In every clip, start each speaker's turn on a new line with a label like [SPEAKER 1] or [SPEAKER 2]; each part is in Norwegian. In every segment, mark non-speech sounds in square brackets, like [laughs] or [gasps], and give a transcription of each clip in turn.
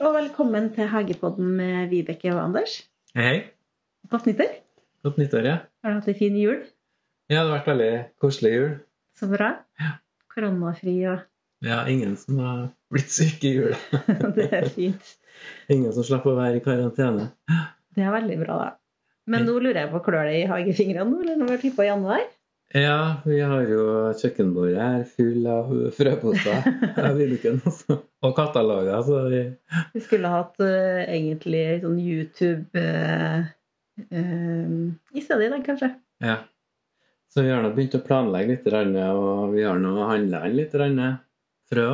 [SPEAKER 1] velkommen til Hagepodden med Vibeke og Anders.
[SPEAKER 2] Hei, hei.
[SPEAKER 1] Godt nyttår.
[SPEAKER 2] Godt nyttår, ja.
[SPEAKER 1] Har du hatt en fin jul?
[SPEAKER 2] Ja, det har vært veldig koselig jul.
[SPEAKER 1] Så bra.
[SPEAKER 2] Ja.
[SPEAKER 1] Koronafri og [laughs]
[SPEAKER 2] Ja, ingen som har blitt syk i jula.
[SPEAKER 1] Det er fint.
[SPEAKER 2] Ingen som slapp å være i karantene.
[SPEAKER 1] Det er veldig bra, da. Men nå lurer jeg på klør det i hagefingrene nå, eller når vi tippa januar?
[SPEAKER 2] Ja, vi har jo kjøkkenbordet her full av [laughs] frøposer av vinduken, altså. Og kataloger, så vi
[SPEAKER 1] Vi skulle hatt eh, egentlig sånn YouTube eh, eh, i stedet i dag, kanskje.
[SPEAKER 2] Ja. Så vi har nå begynt å planlegge litt, grann, og vi har nå handla inn litt grann frø.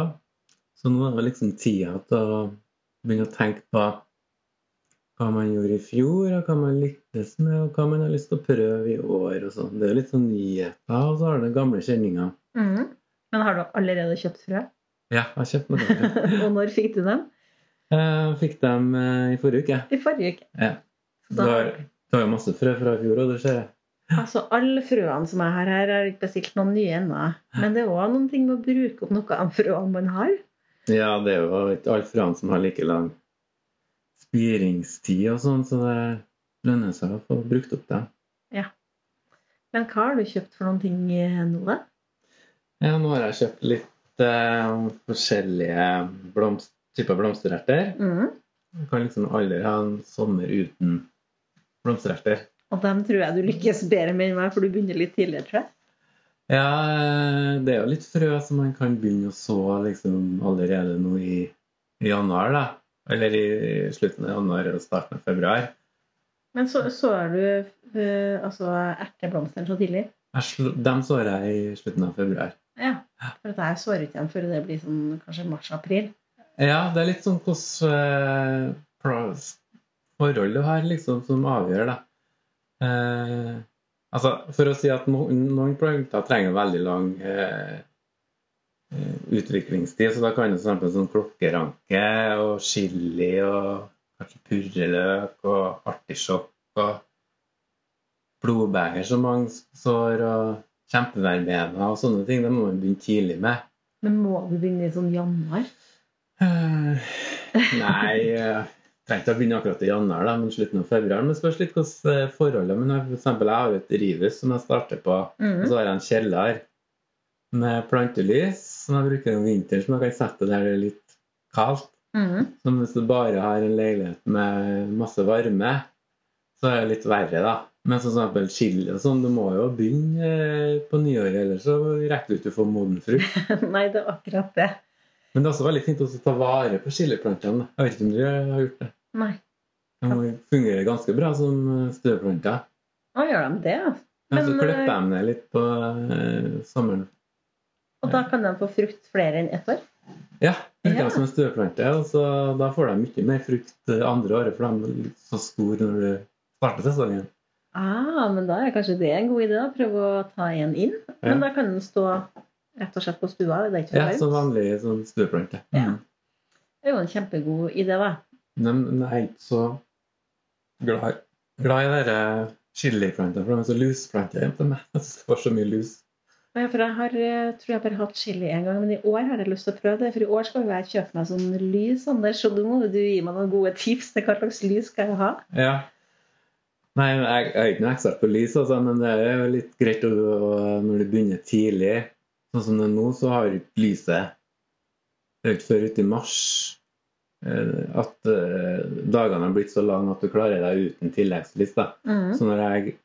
[SPEAKER 2] Så nå er det liksom tida til å begynne å tenke på hva man gjorde i fjor, og hva man lyktes med, og hva man har lyst til å prøve i år. og sånn. Det er jo litt sånn nyheter, og så har du gamle kjenninger.
[SPEAKER 1] Mhm. Men har du allerede kjøpt frø?
[SPEAKER 2] Ja, jeg har kjøpt noe.
[SPEAKER 1] [laughs] og når fikk du dem?
[SPEAKER 2] [laughs] Jeg fikk dem eh, i forrige uke.
[SPEAKER 1] I forrige uke.
[SPEAKER 2] Ja.
[SPEAKER 1] Så
[SPEAKER 2] Du har, du har jo masse frø fra i fjor, og det ser jeg.
[SPEAKER 1] Altså, Alle frøene som jeg har her, har ikke bestilt noen nye ennå. Men det er òg noen ting med å bruke opp noe av frøene man har.
[SPEAKER 2] Ja, det er jo ikke alle frøene som har like lang spiringstid og sånn, så det lønner seg å få brukt opp dem.
[SPEAKER 1] Men hva har du kjøpt for noen ting eh, nå, da?
[SPEAKER 2] Ja, nå har jeg kjøpt litt eh, forskjellige blomst, typer blomstererter.
[SPEAKER 1] Mm.
[SPEAKER 2] Man kan liksom aldri ha en sommer uten blomstererter.
[SPEAKER 1] Og dem tror jeg du lykkes bedre med enn meg, for du begynner litt tidligere, tror jeg.
[SPEAKER 2] Ja, eh, det er jo litt frø som man kan begynne å så liksom allerede nå i, i januar, da. Eller i slutten av januar og starten av februar.
[SPEAKER 1] Men så sår du eh, altså, erteblomstene så tidlig?
[SPEAKER 2] Jeg slo, dem sår jeg i slutten av februar.
[SPEAKER 1] Ja. For at jeg sår ikke dem før det blir sånn kanskje mars-april.
[SPEAKER 2] Ja, det er litt sånn hvordan eh, pros- forhold du har, liksom, som avgjør, da. Eh, altså, for å si at no, noen planter trenger veldig lang eh, eh, utviklingstid, så da kan det for eksempel sånn klokkeranke og chili og kanskje purreløk og artisjokk og blodbeger som mange sår, og kjempeverbena og sånne ting, det må man begynne tidlig med.
[SPEAKER 1] Men må du begynne i sånn januar?
[SPEAKER 2] Eh, [sighs] Nei, jeg trenger ikke å begynne akkurat i januar, da, men slutten av februar. Men det spørs litt hvordan eh, forholdet men jeg- For eksempel, jeg har jo et drivhus som jeg starter på. Og
[SPEAKER 1] Mhm.
[SPEAKER 2] så har jeg en kjeller med plantelys som jeg bruker om vinteren, som jeg kan sette der det er litt kaldt.
[SPEAKER 1] Mhm.
[SPEAKER 2] Så hvis du bare har en leilighet med masse varme, så er det litt verre, da. Men sånn som for eksempel chili og sånn, du må jo begynne eh, på nyåret, ellers så rekker du ikke å få moden frukt.
[SPEAKER 1] [laughs] Nei, det er akkurat det.
[SPEAKER 2] Men det er også veldig fint også å ta vare på chiliplantene. Jeg vet ikke om dere har gjort det.
[SPEAKER 1] Nei.
[SPEAKER 2] De fungerer ganske bra som støvplanter.
[SPEAKER 1] Å, gjør de det? ja?
[SPEAKER 2] Men, så
[SPEAKER 1] Men,
[SPEAKER 2] klipper
[SPEAKER 1] eh,
[SPEAKER 2] jeg dem ned litt på eh, sommeren.
[SPEAKER 1] Og da kan de få frukt flere enn ett år?
[SPEAKER 2] Ja, bruker
[SPEAKER 1] Ja.
[SPEAKER 2] dem som en støvplante. Og så, da får de mye mer frukt eh, andre året, for de er litt så store når du starter sesongen.
[SPEAKER 1] Ah, men da er kanskje det en god idé. da. Prøve å ta en inn. Men
[SPEAKER 2] Ja.
[SPEAKER 1] da kan den stå rett og slett på stua. Det er ikke for
[SPEAKER 2] Ja,
[SPEAKER 1] varmt.
[SPEAKER 2] Som vanlig som støvplante.
[SPEAKER 1] Ja.
[SPEAKER 2] Mm.
[SPEAKER 1] Det er jo en kjempegod idé, da.
[SPEAKER 2] Men men jeg er ikke så glad, glad i de eh, chiliplantene, for de er så lusplanter. Jeg synes det var så mye lus.
[SPEAKER 1] Og jeg- For jeg har, eh, tror jeg bare har hatt chili en gang, men i år har jeg lyst til å prøve det. For i år skal jo jeg kjøpe meg sånn lys, Anders, så du må jo du gi meg noen gode tips til hva slags lys skal jeg ha.
[SPEAKER 2] Ja. Nei, men jeg, jeg er ikke noe ekspert på lys, altså, men det er jo litt greit å, å, når du begynner tidlig. Sånn som det er nå, så har du ikke lyset Det er jo ikke før uti mars eh, at eh, dagene har blitt så lange at du klarer deg uten tilleggslys. da.
[SPEAKER 1] Mhm.
[SPEAKER 2] Så når jeg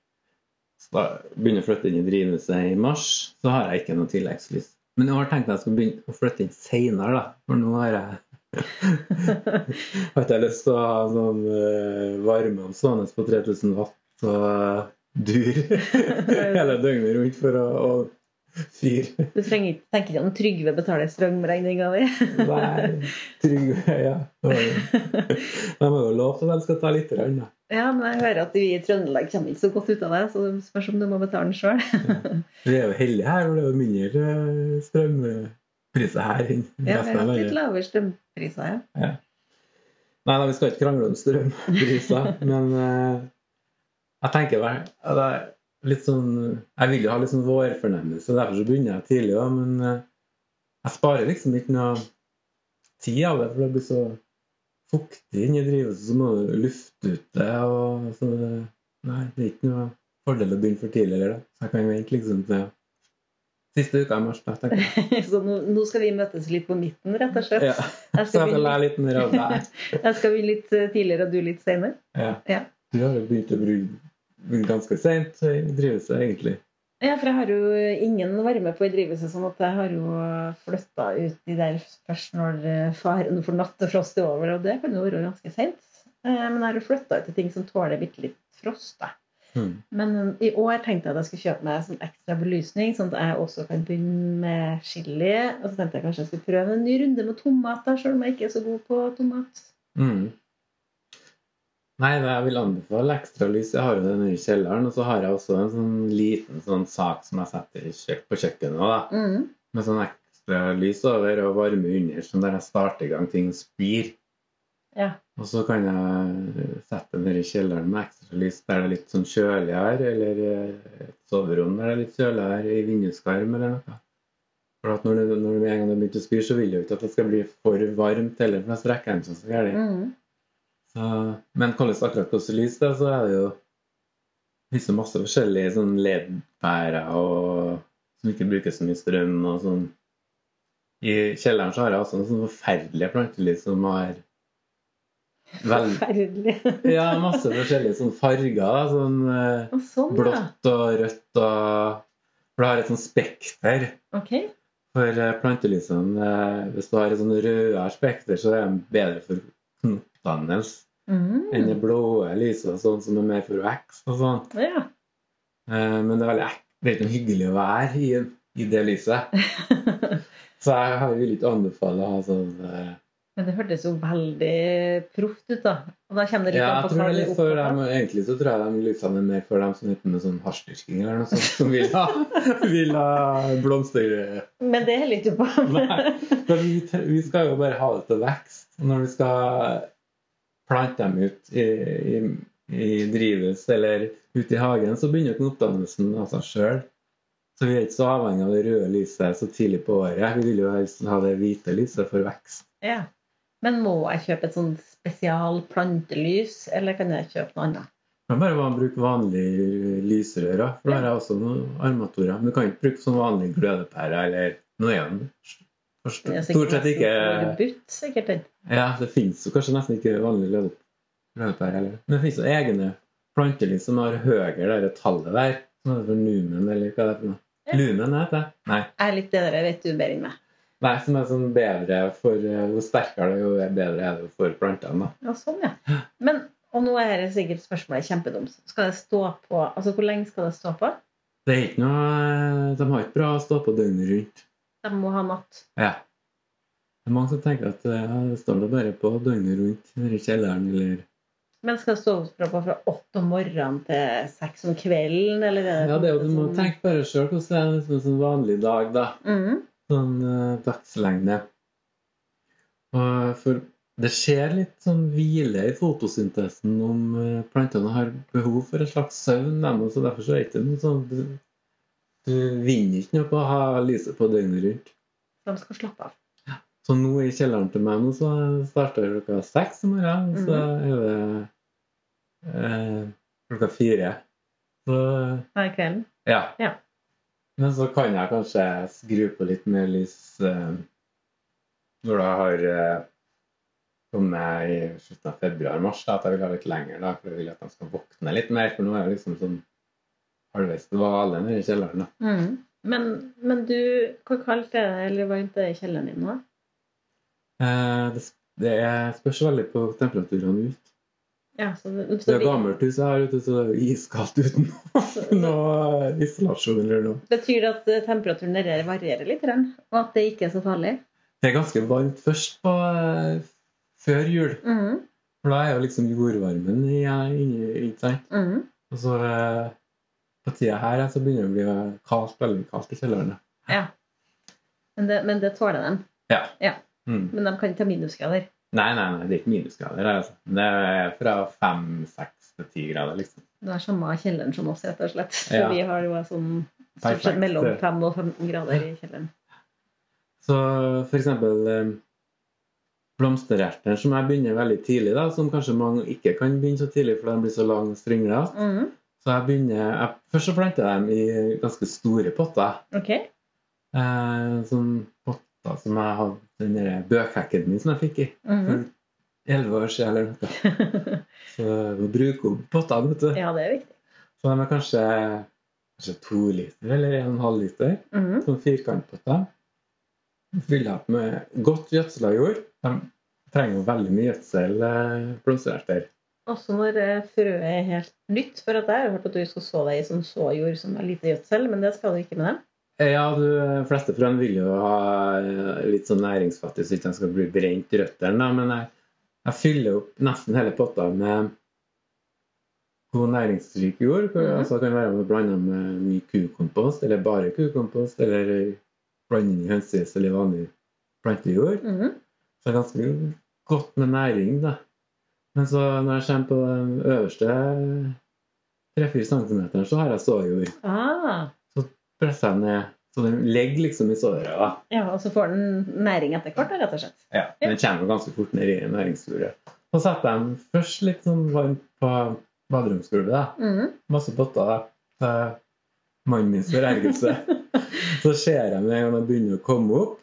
[SPEAKER 2] sta- begynner å flytte inn i drivhuset i mars, så har jeg ikke noe tilleggslys. Men jeg har tenkt at jeg skal begynne å flytte inn seinere, da. For nå har jeg [laughs] har ikke jeg lyst til å ha sånn eh, varme om stående på 3000 watt og dur [laughs] hele døgnet rundt for å, å fyre.
[SPEAKER 1] du trenger ikke tenke om Trygve betaler strømregninga di. [laughs]
[SPEAKER 2] Nei, Trygve ja. De har jo lov til at de skal ta litt, grann, da.
[SPEAKER 1] Ja, men jeg hører at vi i Trøndelag kommer ikke så godt ut av det, så det spørs om du må betale den sjøl.
[SPEAKER 2] Vi er jo heldige her, for det er jo mindre eh, strømpriser her enn
[SPEAKER 1] Ja, vi
[SPEAKER 2] resten
[SPEAKER 1] har
[SPEAKER 2] av
[SPEAKER 1] hatt litt
[SPEAKER 2] landet.
[SPEAKER 1] lavere strømpriser, ja.
[SPEAKER 2] Nei, nei, vi skal ikke krangle om strømpriser,
[SPEAKER 1] [laughs]
[SPEAKER 2] men eh, jeg tenker vel ja, det er litt sånn, Jeg vil jo ha litt sånn vårfornemmelse, derfor så begynner jeg tidlig òg, men eh, jeg sparer liksom ikke noe tid av det, for det blir så fuktig inni drivhuset, så må du lufte ut det. Og, så, det- nei, det er ikke noe fordel å begynne for tidlig. Eller, det. så jeg kan vente liksom til siste uka i mars. Da, tenker jeg.
[SPEAKER 1] [laughs] Så nå, nå skal vi møtes litt på midten, rett og slett.
[SPEAKER 2] [laughs] Ja.
[SPEAKER 1] Jeg
[SPEAKER 2] Så
[SPEAKER 1] skal
[SPEAKER 2] jeg kan
[SPEAKER 1] begynne,
[SPEAKER 2] lære litt mer av deg.
[SPEAKER 1] jeg skal begynne litt eh, tidligere og du litt senere.
[SPEAKER 2] [laughs] Ja.
[SPEAKER 1] Ja.
[SPEAKER 2] Du har jo begynt å bruke ganske seint i drivhuset, egentlig.
[SPEAKER 1] Ja, for jeg har jo ingen varme på i drivhuset, sånn at jeg har jo flytta ut de der først når eh, faren for nattefrost er over, og det kan jo være ganske seint. Men jeg har jo flytta ut til ting som tåler bitte litt frost, da.
[SPEAKER 2] Mm.
[SPEAKER 1] Men eh, i år tenkte jeg at jeg skulle kjøpe meg sånn ekstra belysning, sånn at jeg også kan begynne med chili. Og så tenkte jeg kanskje jeg skulle prøve en ny runde med tomater, selv om jeg ikke er så god på tomat.
[SPEAKER 2] Mm. Nei, men jeg vil anbefale ekstra lys. Jeg har jo den i kjelleren, og så har jeg også en sånn liten sånn sak som jeg setter i kjøk på kjøkkenet også, da.
[SPEAKER 1] Mm.
[SPEAKER 2] Med sånn ekstra lys over og varme under, sånn der jeg starter i gang ting spyr.
[SPEAKER 1] Ja.
[SPEAKER 2] Og så kan jeg sette den her i kjelleren med ekstra lys der det er litt sånn kjøligere, eller eh, et soverom der det er litt kjøligere, i vinduskarm eller noe. For at når det, når det en gang har begynt å spyr, så vil jeg jo ikke at det skal bli for varmt heller, for da strekker den seg så gærent.
[SPEAKER 1] Mm.
[SPEAKER 2] Så, men hvordan akkurat hvordan lys det er, så er det jo liksom masse forskjellige sånn LED-pærer og som ikke bruker så mye strøm og sånn. I kjelleren så har jeg også noen sånne forferdelige plantelys som har vel,
[SPEAKER 1] Forferdelig.
[SPEAKER 2] ja, masse forskjellige sånne farger. da, Sånn eh,
[SPEAKER 1] Og sånn, ja.
[SPEAKER 2] blått og rødt og For det har et sånt spekter.
[SPEAKER 1] Ok.
[SPEAKER 2] For eh, plantelysene, eh, hvis du har et sånt rødere spekter, så er de bedre for knoppdannelse enn
[SPEAKER 1] Mm.
[SPEAKER 2] det blå lyset og sånn som er mer for vekst og sånn.
[SPEAKER 1] Ja.
[SPEAKER 2] Eh, Men det er veldig ek- det er ikke noe hyggelig å være i, i det lyset.
[SPEAKER 1] [laughs]
[SPEAKER 2] Så jeg har- vil ikke anbefale å ha sånn eh,
[SPEAKER 1] Men det hørtes jo veldig proft ut, da. Og da kommer det litt
[SPEAKER 2] Ja,
[SPEAKER 1] an
[SPEAKER 2] jeg
[SPEAKER 1] på hva
[SPEAKER 2] tror det er
[SPEAKER 1] du er
[SPEAKER 2] litt for
[SPEAKER 1] opptatt av.
[SPEAKER 2] dem, og egentlig så tror jeg de lysene er mer for dem som sitter med sånn hasjdyrking eller noe sånt, som vil ha, [laughs] vil ha blomster.
[SPEAKER 1] Men det holder ikke du på
[SPEAKER 2] [laughs] Nei. For vi, tre- vi skal jo bare ha det til vekst. Og Når vi skal plante dem ut i, i, i drivhus eller ute i hagen, så begynner jo oppdannelsen av seg sjøl. Så vi er ikke så avhengig av det røde lyset så tidlig på året. Vi vil jo helst ha det hvite lyset for vekst.
[SPEAKER 1] [laughs] ja. Men må jeg kjøpe et sånn spesial plantelys, eller kan jeg kjøpe noe annet?
[SPEAKER 2] Men bare man bruker vanlige lysrør. da. For da har jeg også noen armatorer. Men du kan ikke bruke sånn vanlig glødepære eller noe annet. For
[SPEAKER 1] Det er
[SPEAKER 2] st-
[SPEAKER 1] sikkert
[SPEAKER 2] Stort sett
[SPEAKER 1] nesten
[SPEAKER 2] ikke
[SPEAKER 1] for Butt, sikkert den.
[SPEAKER 2] Ja, det finnes jo kanskje nesten ikke vanlig løv- løvepære heller. Men det finnes jo egne plantelys som har høyere det tallet der. Som er det for numen, eller hva det er for noe.
[SPEAKER 1] Ja.
[SPEAKER 2] Lumen heter det? Nei.
[SPEAKER 1] Jeg er litt det der, jeg vet du bedre enn meg.
[SPEAKER 2] Nei, som er sånn bedre for eh, Jo sterkere det er, jo bedre er det for plantene, da.
[SPEAKER 1] Ja, sånn,
[SPEAKER 2] [gasps]
[SPEAKER 1] ja. Men, og nå er det sikkert spørsmålet kjempedumt. Skal det stå på, altså hvor lenge skal det stå på?
[SPEAKER 2] Det er ikke noe eh, De har ikke bra å stå på døgnet rundt.
[SPEAKER 1] De må ha natt.
[SPEAKER 2] Ja. Det er mange som tenker at eh, ja, det står da bare på døgnet rundt nede i kjelleren, eller
[SPEAKER 1] Men skal det stå på fra åtte om morgenen til seks om kvelden, eller er
[SPEAKER 2] Ja, det er jo, du må
[SPEAKER 1] sånn-
[SPEAKER 2] tenke bare sjøl hvordan det er en sånn- sånn vanlig dag, da.
[SPEAKER 1] Mhm.
[SPEAKER 2] sånn eh, dagslengde. Og for det skjer litt sånn hvile i fotosyntesen om eh, plantene har behov for en slags søvn. dem, og Så derfor så er det ikke noe sånn du, du vinner ikke noe på å ha lyset på døgnet rundt.
[SPEAKER 1] De skal slappe av.
[SPEAKER 2] Så nå i kjelleren til meg nå så starter det klokka seks om morgenen, og så er det eh, klokka fire. Så
[SPEAKER 1] Hver kvelden.
[SPEAKER 2] ja.
[SPEAKER 1] Ja.
[SPEAKER 2] Men så kan jeg kanskje skru på litt mer lys eh, når det har eh, kommet i slutten av februar-mars. da, At jeg vil ha litt lenger, da, for jeg vil at de skal våkne litt mer. For nå er jeg liksom sånn halvveis dvale nede i kjelleren. da.
[SPEAKER 1] Men, men du, hvor kaldt er det, eller varmt er det i kjelleren din nå?
[SPEAKER 2] Eh, det, det er- spørs veldig på temperaturene ute.
[SPEAKER 1] Ja, så, det-
[SPEAKER 2] Det
[SPEAKER 1] så
[SPEAKER 2] er
[SPEAKER 1] det,
[SPEAKER 2] gammelt hus jeg har ute, så det er jo iskaldt uten [laughs] noe eh, isolasjon eller noe.
[SPEAKER 1] betyr det at eh, temperaturen der varierer litt, grann, og at det ikke er så farlig?
[SPEAKER 2] Det er ganske varmt først på, eh, før jul.
[SPEAKER 1] Mhm,
[SPEAKER 2] For da er jo liksom jordvarmen i, i, i, i
[SPEAKER 1] mhm.
[SPEAKER 2] Og så eh, på tida her eh, så begynner det å bli kaldt, veldig kaldt i kjelleren.
[SPEAKER 1] Men, det, men det tåler dem.
[SPEAKER 2] Mm.
[SPEAKER 1] Men de kan ikke ta minusgrader.
[SPEAKER 2] Nei, nei, nei, det er ikke minusgrader. Altså. Det er fra fem, seks til ti grader, liksom.
[SPEAKER 1] Det er samme kjelleren som oss, rett og slett. Så
[SPEAKER 2] Ja.
[SPEAKER 1] vi har jo sånn stort sett
[SPEAKER 2] Perfekt.
[SPEAKER 1] mellom fem og 15 grader i kjelleren.
[SPEAKER 2] Så for eksempel eh, blomsterertene som jeg begynner veldig tidlig, da, som kanskje mange ikke kan begynne så tidlig, for de blir så lange stringler.
[SPEAKER 1] Mhm.
[SPEAKER 2] Så jeg begynner, jeg, Først så planter jeg dem i ganske store potter.
[SPEAKER 1] Ok.
[SPEAKER 2] Eh, sånn potter som jeg hadde den der bøkhekken min som jeg fikk i
[SPEAKER 1] Mhm.
[SPEAKER 2] for 11 år siden. eller noe. Så vi bruker opp pottene, vet du.
[SPEAKER 1] [laughs] ja, det er viktig.
[SPEAKER 2] Så de er kanskje, kanskje to liter eller en og en halv liter.
[SPEAKER 1] Mhm.
[SPEAKER 2] sånn firkantpotter. Fyller opp med godt gjødsla jord. De trenger jo veldig mye gjødsel, eh, blomstererter.
[SPEAKER 1] Også når eh, frøet er helt nytt. For at jeg har hørt at du skal så deg i sånn såjord som har lite gjødsel, men det skal du ikke med dem.
[SPEAKER 2] Eh, Ja, du, de fleste frøene vil jo ha eh, litt sånn næringsfattig, så ikke de skal bli brent i røttene. da, Men jeg, jeg fyller opp nesten hele potta med god næringsrik jord. hvor-
[SPEAKER 1] Mhm.
[SPEAKER 2] Altså, det kan være blanda med mye kukompost, eller bare kukompost, eller blanding i hønsegjødsel eller vanlig plantejord.
[SPEAKER 1] Mhm.
[SPEAKER 2] Så det er ganske godt med næring, da. Men så når jeg kommer på den øverste 3-4 cm, så har jeg såjord.
[SPEAKER 1] Ah.
[SPEAKER 2] Presser jeg ned, så den ligger liksom i såret. da.
[SPEAKER 1] Ja, og så får den næring etter hvert, da, rett og slett.
[SPEAKER 2] Ja. Den kommer jo ganske fort ned i næringsbordet. Så setter jeg den først litt sånn varmt på baderomsgulvet. da.
[SPEAKER 1] Mhm.
[SPEAKER 2] Masse potter da. til mannen min sin ergelse. Så ser jeg med en gang jeg begynner å komme opp.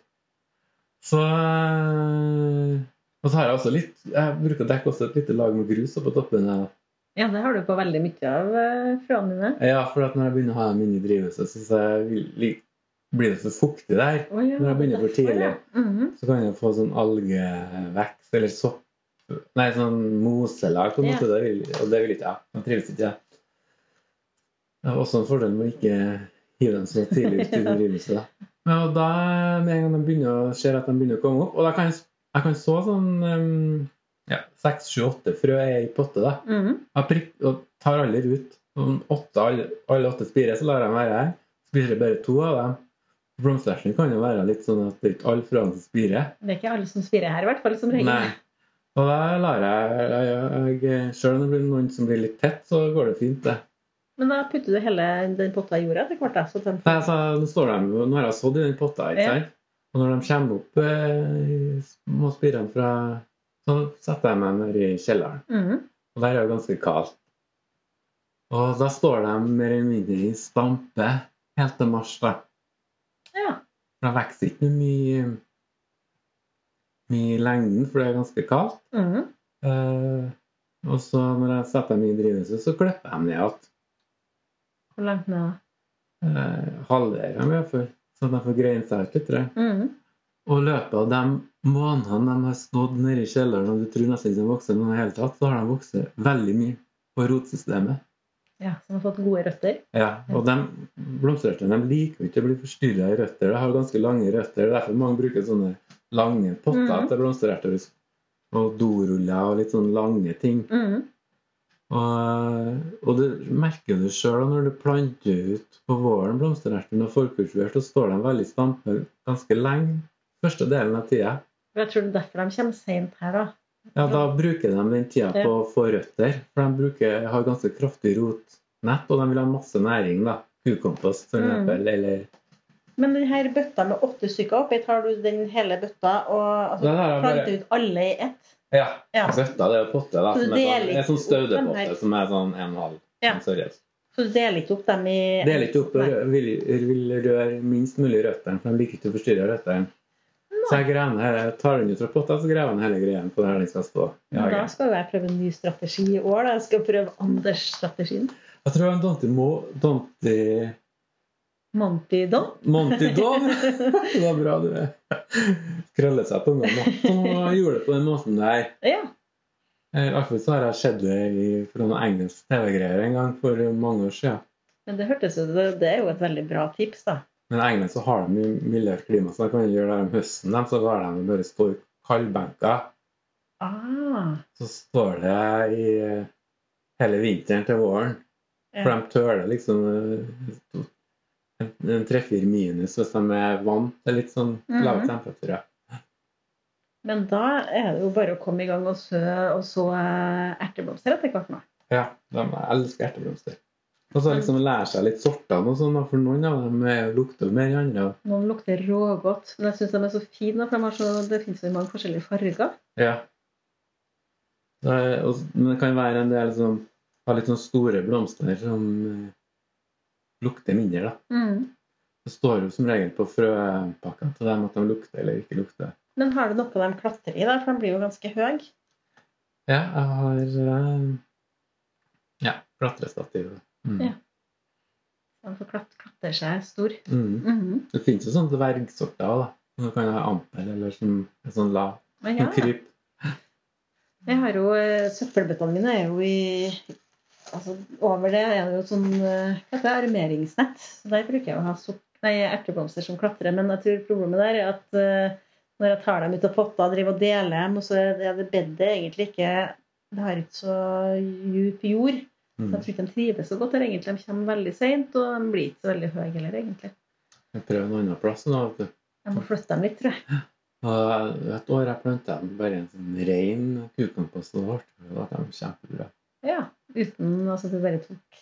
[SPEAKER 2] Så eh, Og så har jeg også litt Jeg bruker å dekke også et lite lag med grus oppå toppen. her.
[SPEAKER 1] Ja, det har du på veldig mye av eh, frøene dine.
[SPEAKER 2] Ja, for at når jeg begynner å ha dem inne i drivhuset, så synes jeg vil- li- blir det så fuktig der.
[SPEAKER 1] Å ja,
[SPEAKER 2] Når jeg begynner for
[SPEAKER 1] derfor,
[SPEAKER 2] tidlig.
[SPEAKER 1] ja. Mhm.
[SPEAKER 2] Så kan jeg få sånn algevekst eller sopp Nei, sånn moselag, på en
[SPEAKER 1] Ja.
[SPEAKER 2] måte. Det vil, og det vil ikke jeg. Jeg trives ikke, jeg. Det er også en fordel med å ikke hive dem så tidlig ut i drivhuset. da. Ja, og da med en gang de begynner å ser at de begynner å komme opp Og da kan jeg, jeg kan så sånn um, ja, 6-7-8 frø er i potte, da.
[SPEAKER 1] Mhm.
[SPEAKER 2] Jeg prikk, og tar alle ut. Om åtte, alle, alle åtte spirer, så lar jeg dem være her. Spirer bare to av dem. Blomsterhersen kan jo være litt sånn at det er ikke alle frøene som spirer.
[SPEAKER 1] Det er ikke alle som spirer her, i hvert fall. som regel.
[SPEAKER 2] Nei. Og da lar jeg, jeg, jeg Selv om det blir noen som blir litt tett, så går det fint, det.
[SPEAKER 1] Men da putter du hele den potta i jorda etter hvert. da, så den...
[SPEAKER 2] Nei, altså, nå, står de, jo- nå har jeg sådd i den potta, ikke
[SPEAKER 1] Ja.
[SPEAKER 2] sant? Og når de kommer opp, eh, i små spirene fra Så setter jeg meg ned i kjelleren.
[SPEAKER 1] Mhm.
[SPEAKER 2] Og der er det ganske kaldt. Og da står de mer eller mindre i stampe helt til mars. da.
[SPEAKER 1] Ja.
[SPEAKER 2] For De vokser ikke noe mye, mye i lengden, for det er ganske kaldt.
[SPEAKER 1] Mhm.
[SPEAKER 2] Eh, og så når jeg setter dem i drivhuset, så klipper jeg dem ned igjen.
[SPEAKER 1] Hvor langt ned?
[SPEAKER 2] Eh, Halverer dem iallfall, så de får greie seg ut litt. tror jeg.
[SPEAKER 1] Mhm.
[SPEAKER 2] Og i løpet av de månedene de har stått nede i kjelleren, og du tror nesten ikke de vokser noe i det hele tatt, så har de vokst veldig mye på rotsystemet.
[SPEAKER 1] Ja, Som har fått gode røtter.
[SPEAKER 2] Ja, og de blomsterrøttene de liker jo ikke å bli forstyrra i røtter. De har ganske lange røtter. Det er derfor mange bruker sånne lange potter
[SPEAKER 1] Mhm.
[SPEAKER 2] til blomstererter. Og doruller og litt sånne lange ting.
[SPEAKER 1] Mhm.
[SPEAKER 2] Og, og du merker det sjøl når du planter ut på våren blomsterertene og forkultivert, så står de veldig stampe ganske lenge første delen av tida.
[SPEAKER 1] For Jeg tror det er derfor de kommer seint her, da.
[SPEAKER 2] Ja, da bruker de den tida på å få røtter. For de bruker, har ganske kraftig rotnett, og de vil ha masse næring, da. Kukompost, for
[SPEAKER 1] Mhm.
[SPEAKER 2] eksempel, eller
[SPEAKER 1] Men den her bøtta med åtte stykker oppi, tar du den hele bøtta og altså,
[SPEAKER 2] Den har
[SPEAKER 1] planter
[SPEAKER 2] jeg bare Altså-
[SPEAKER 1] ut alle i ett?
[SPEAKER 2] Ja.
[SPEAKER 1] Ja.
[SPEAKER 2] Bøtta, det er jo potte,
[SPEAKER 1] Så
[SPEAKER 2] da. Som
[SPEAKER 1] du
[SPEAKER 2] er sånn,
[SPEAKER 1] deler
[SPEAKER 2] en
[SPEAKER 1] ikke
[SPEAKER 2] sånn
[SPEAKER 1] opp den
[SPEAKER 2] staudepotte
[SPEAKER 1] her?
[SPEAKER 2] som er sånn en halv.
[SPEAKER 1] Ja.
[SPEAKER 2] sånn seriøs.
[SPEAKER 1] Så du deler ikke opp dem i
[SPEAKER 2] Deler ikke opp og
[SPEAKER 1] Nei.
[SPEAKER 2] rø- vil, vil røre minst mulig røttene, for de liker ikke å forstyrre røttene. Så jeg graver hele- tar den ut fra potta, så graver den hele greien på der den skal stå. i
[SPEAKER 1] Men Da
[SPEAKER 2] hagen.
[SPEAKER 1] skal jo jeg prøve en ny strategi i år. da. Jeg skal prøve Anders-strategien.
[SPEAKER 2] Jeg tror en Donti Mo- Donti
[SPEAKER 1] Monty Don.
[SPEAKER 2] Monty Don Det var bra, du. Krøller seg på ungene. da. Så gjorde det på den måten der.
[SPEAKER 1] Ja.
[SPEAKER 2] Eh, I hvert fall så har jeg sett det i for noen engelsk TV-greier en gang for mange år siden.
[SPEAKER 1] Men det hørtes ut det, det er jo et veldig bra tips, da.
[SPEAKER 2] Men i England så har de jo mildere klima, så de kan jo gjøre det om høsten. De, så lar de bare stå i kaldbenker.
[SPEAKER 1] Ah,
[SPEAKER 2] Så står det i eh, hele vinteren til våren.
[SPEAKER 1] Ja.
[SPEAKER 2] For de tøler liksom eh, to- en- en tre-fire minus hvis de er vant til litt sånn lave
[SPEAKER 1] Mhm.
[SPEAKER 2] temperaturer.
[SPEAKER 1] men da er det jo bare å komme i gang og så, og så eh, erteblomster etter hvert nå.
[SPEAKER 2] Ja, de jeg elsker erteblomster. Og så liksom lære seg litt sortene og sånn, da, for noen av dem er- lukter mer enn andre.
[SPEAKER 1] Noen lukter rågodt. Men jeg syns de er så fine. For de har så, det finnes jo i mange forskjellige farger.
[SPEAKER 2] Ja. Det er, og, men det kan være en del som har litt sånn store blomster som eh, lukter mindre, da.
[SPEAKER 1] Mm.
[SPEAKER 2] Det står jo som regel på frøpakka til dem at de lukter eller ikke lukter.
[SPEAKER 1] Men har du noe de klatrer i, da? For de blir jo ganske høye.
[SPEAKER 2] Ja, jeg har eh, ja, klatrestativ. Mm.
[SPEAKER 1] Ja. De får klat klatre seg stor.
[SPEAKER 2] Mm.
[SPEAKER 1] Mhm.
[SPEAKER 2] Det finnes jo sånne dvergsorter òg, da. Som du kan ha amper eller som en sånn lav.
[SPEAKER 1] Men
[SPEAKER 2] Ja.
[SPEAKER 1] ja,
[SPEAKER 2] Kryp.
[SPEAKER 1] jeg har jo eh, Søppelbøttene mine er jo i Altså over det er det jo sånn eh, Hva heter det? Armeringsnett. Så der bruker jeg å ha sopp, nei, erteblomster som klatrer. Men jeg tror problemet der er at eh, når jeg tar dem ut av potta og driver og deler dem, og så er det- det bedet egentlig ikke Det har ikke så djup jord. Så
[SPEAKER 2] Mm.
[SPEAKER 1] jeg tror ikke de trives så godt der egentlig. De kommer veldig seint, og de blir ikke så veldig høye heller, egentlig.
[SPEAKER 2] Jeg prøver en annen plass. nå, vet du.
[SPEAKER 1] Jeg må flytte dem litt, tror jeg.
[SPEAKER 2] Og et år jeg planta dem bare i en sånn rein kukompost, og det ble de kjempebra.
[SPEAKER 1] Ja, Uten altså det bare tok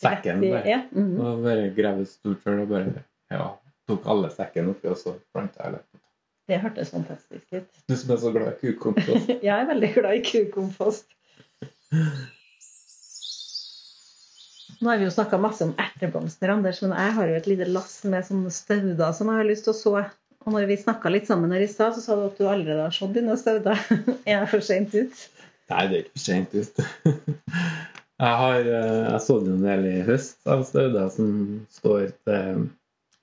[SPEAKER 2] Sekken
[SPEAKER 1] rett i-
[SPEAKER 2] bare.
[SPEAKER 1] Ja. mhm.
[SPEAKER 2] Og bare grave et stort hull og bare ja, tok alle sekkene oppi, og så planta jeg det.
[SPEAKER 1] Det hørtes fantastisk ut.
[SPEAKER 2] Du som er så glad i kukompost.
[SPEAKER 1] Jeg er veldig glad i kukompost. Nå har vi jo snakka masse om erteblomster, Anders, men jeg har jo et lite lass med sånne stauder som jeg har lyst til å så. Og når vi snakka litt sammen her i stad, så sa du at du allerede har sådd dine stauder. [laughs] Er jeg for seint ut?
[SPEAKER 2] Nei, det er ikke for sent ut. [laughs] Jeg har eh, jeg sådde jo en del i høst av stauder som står til, eh,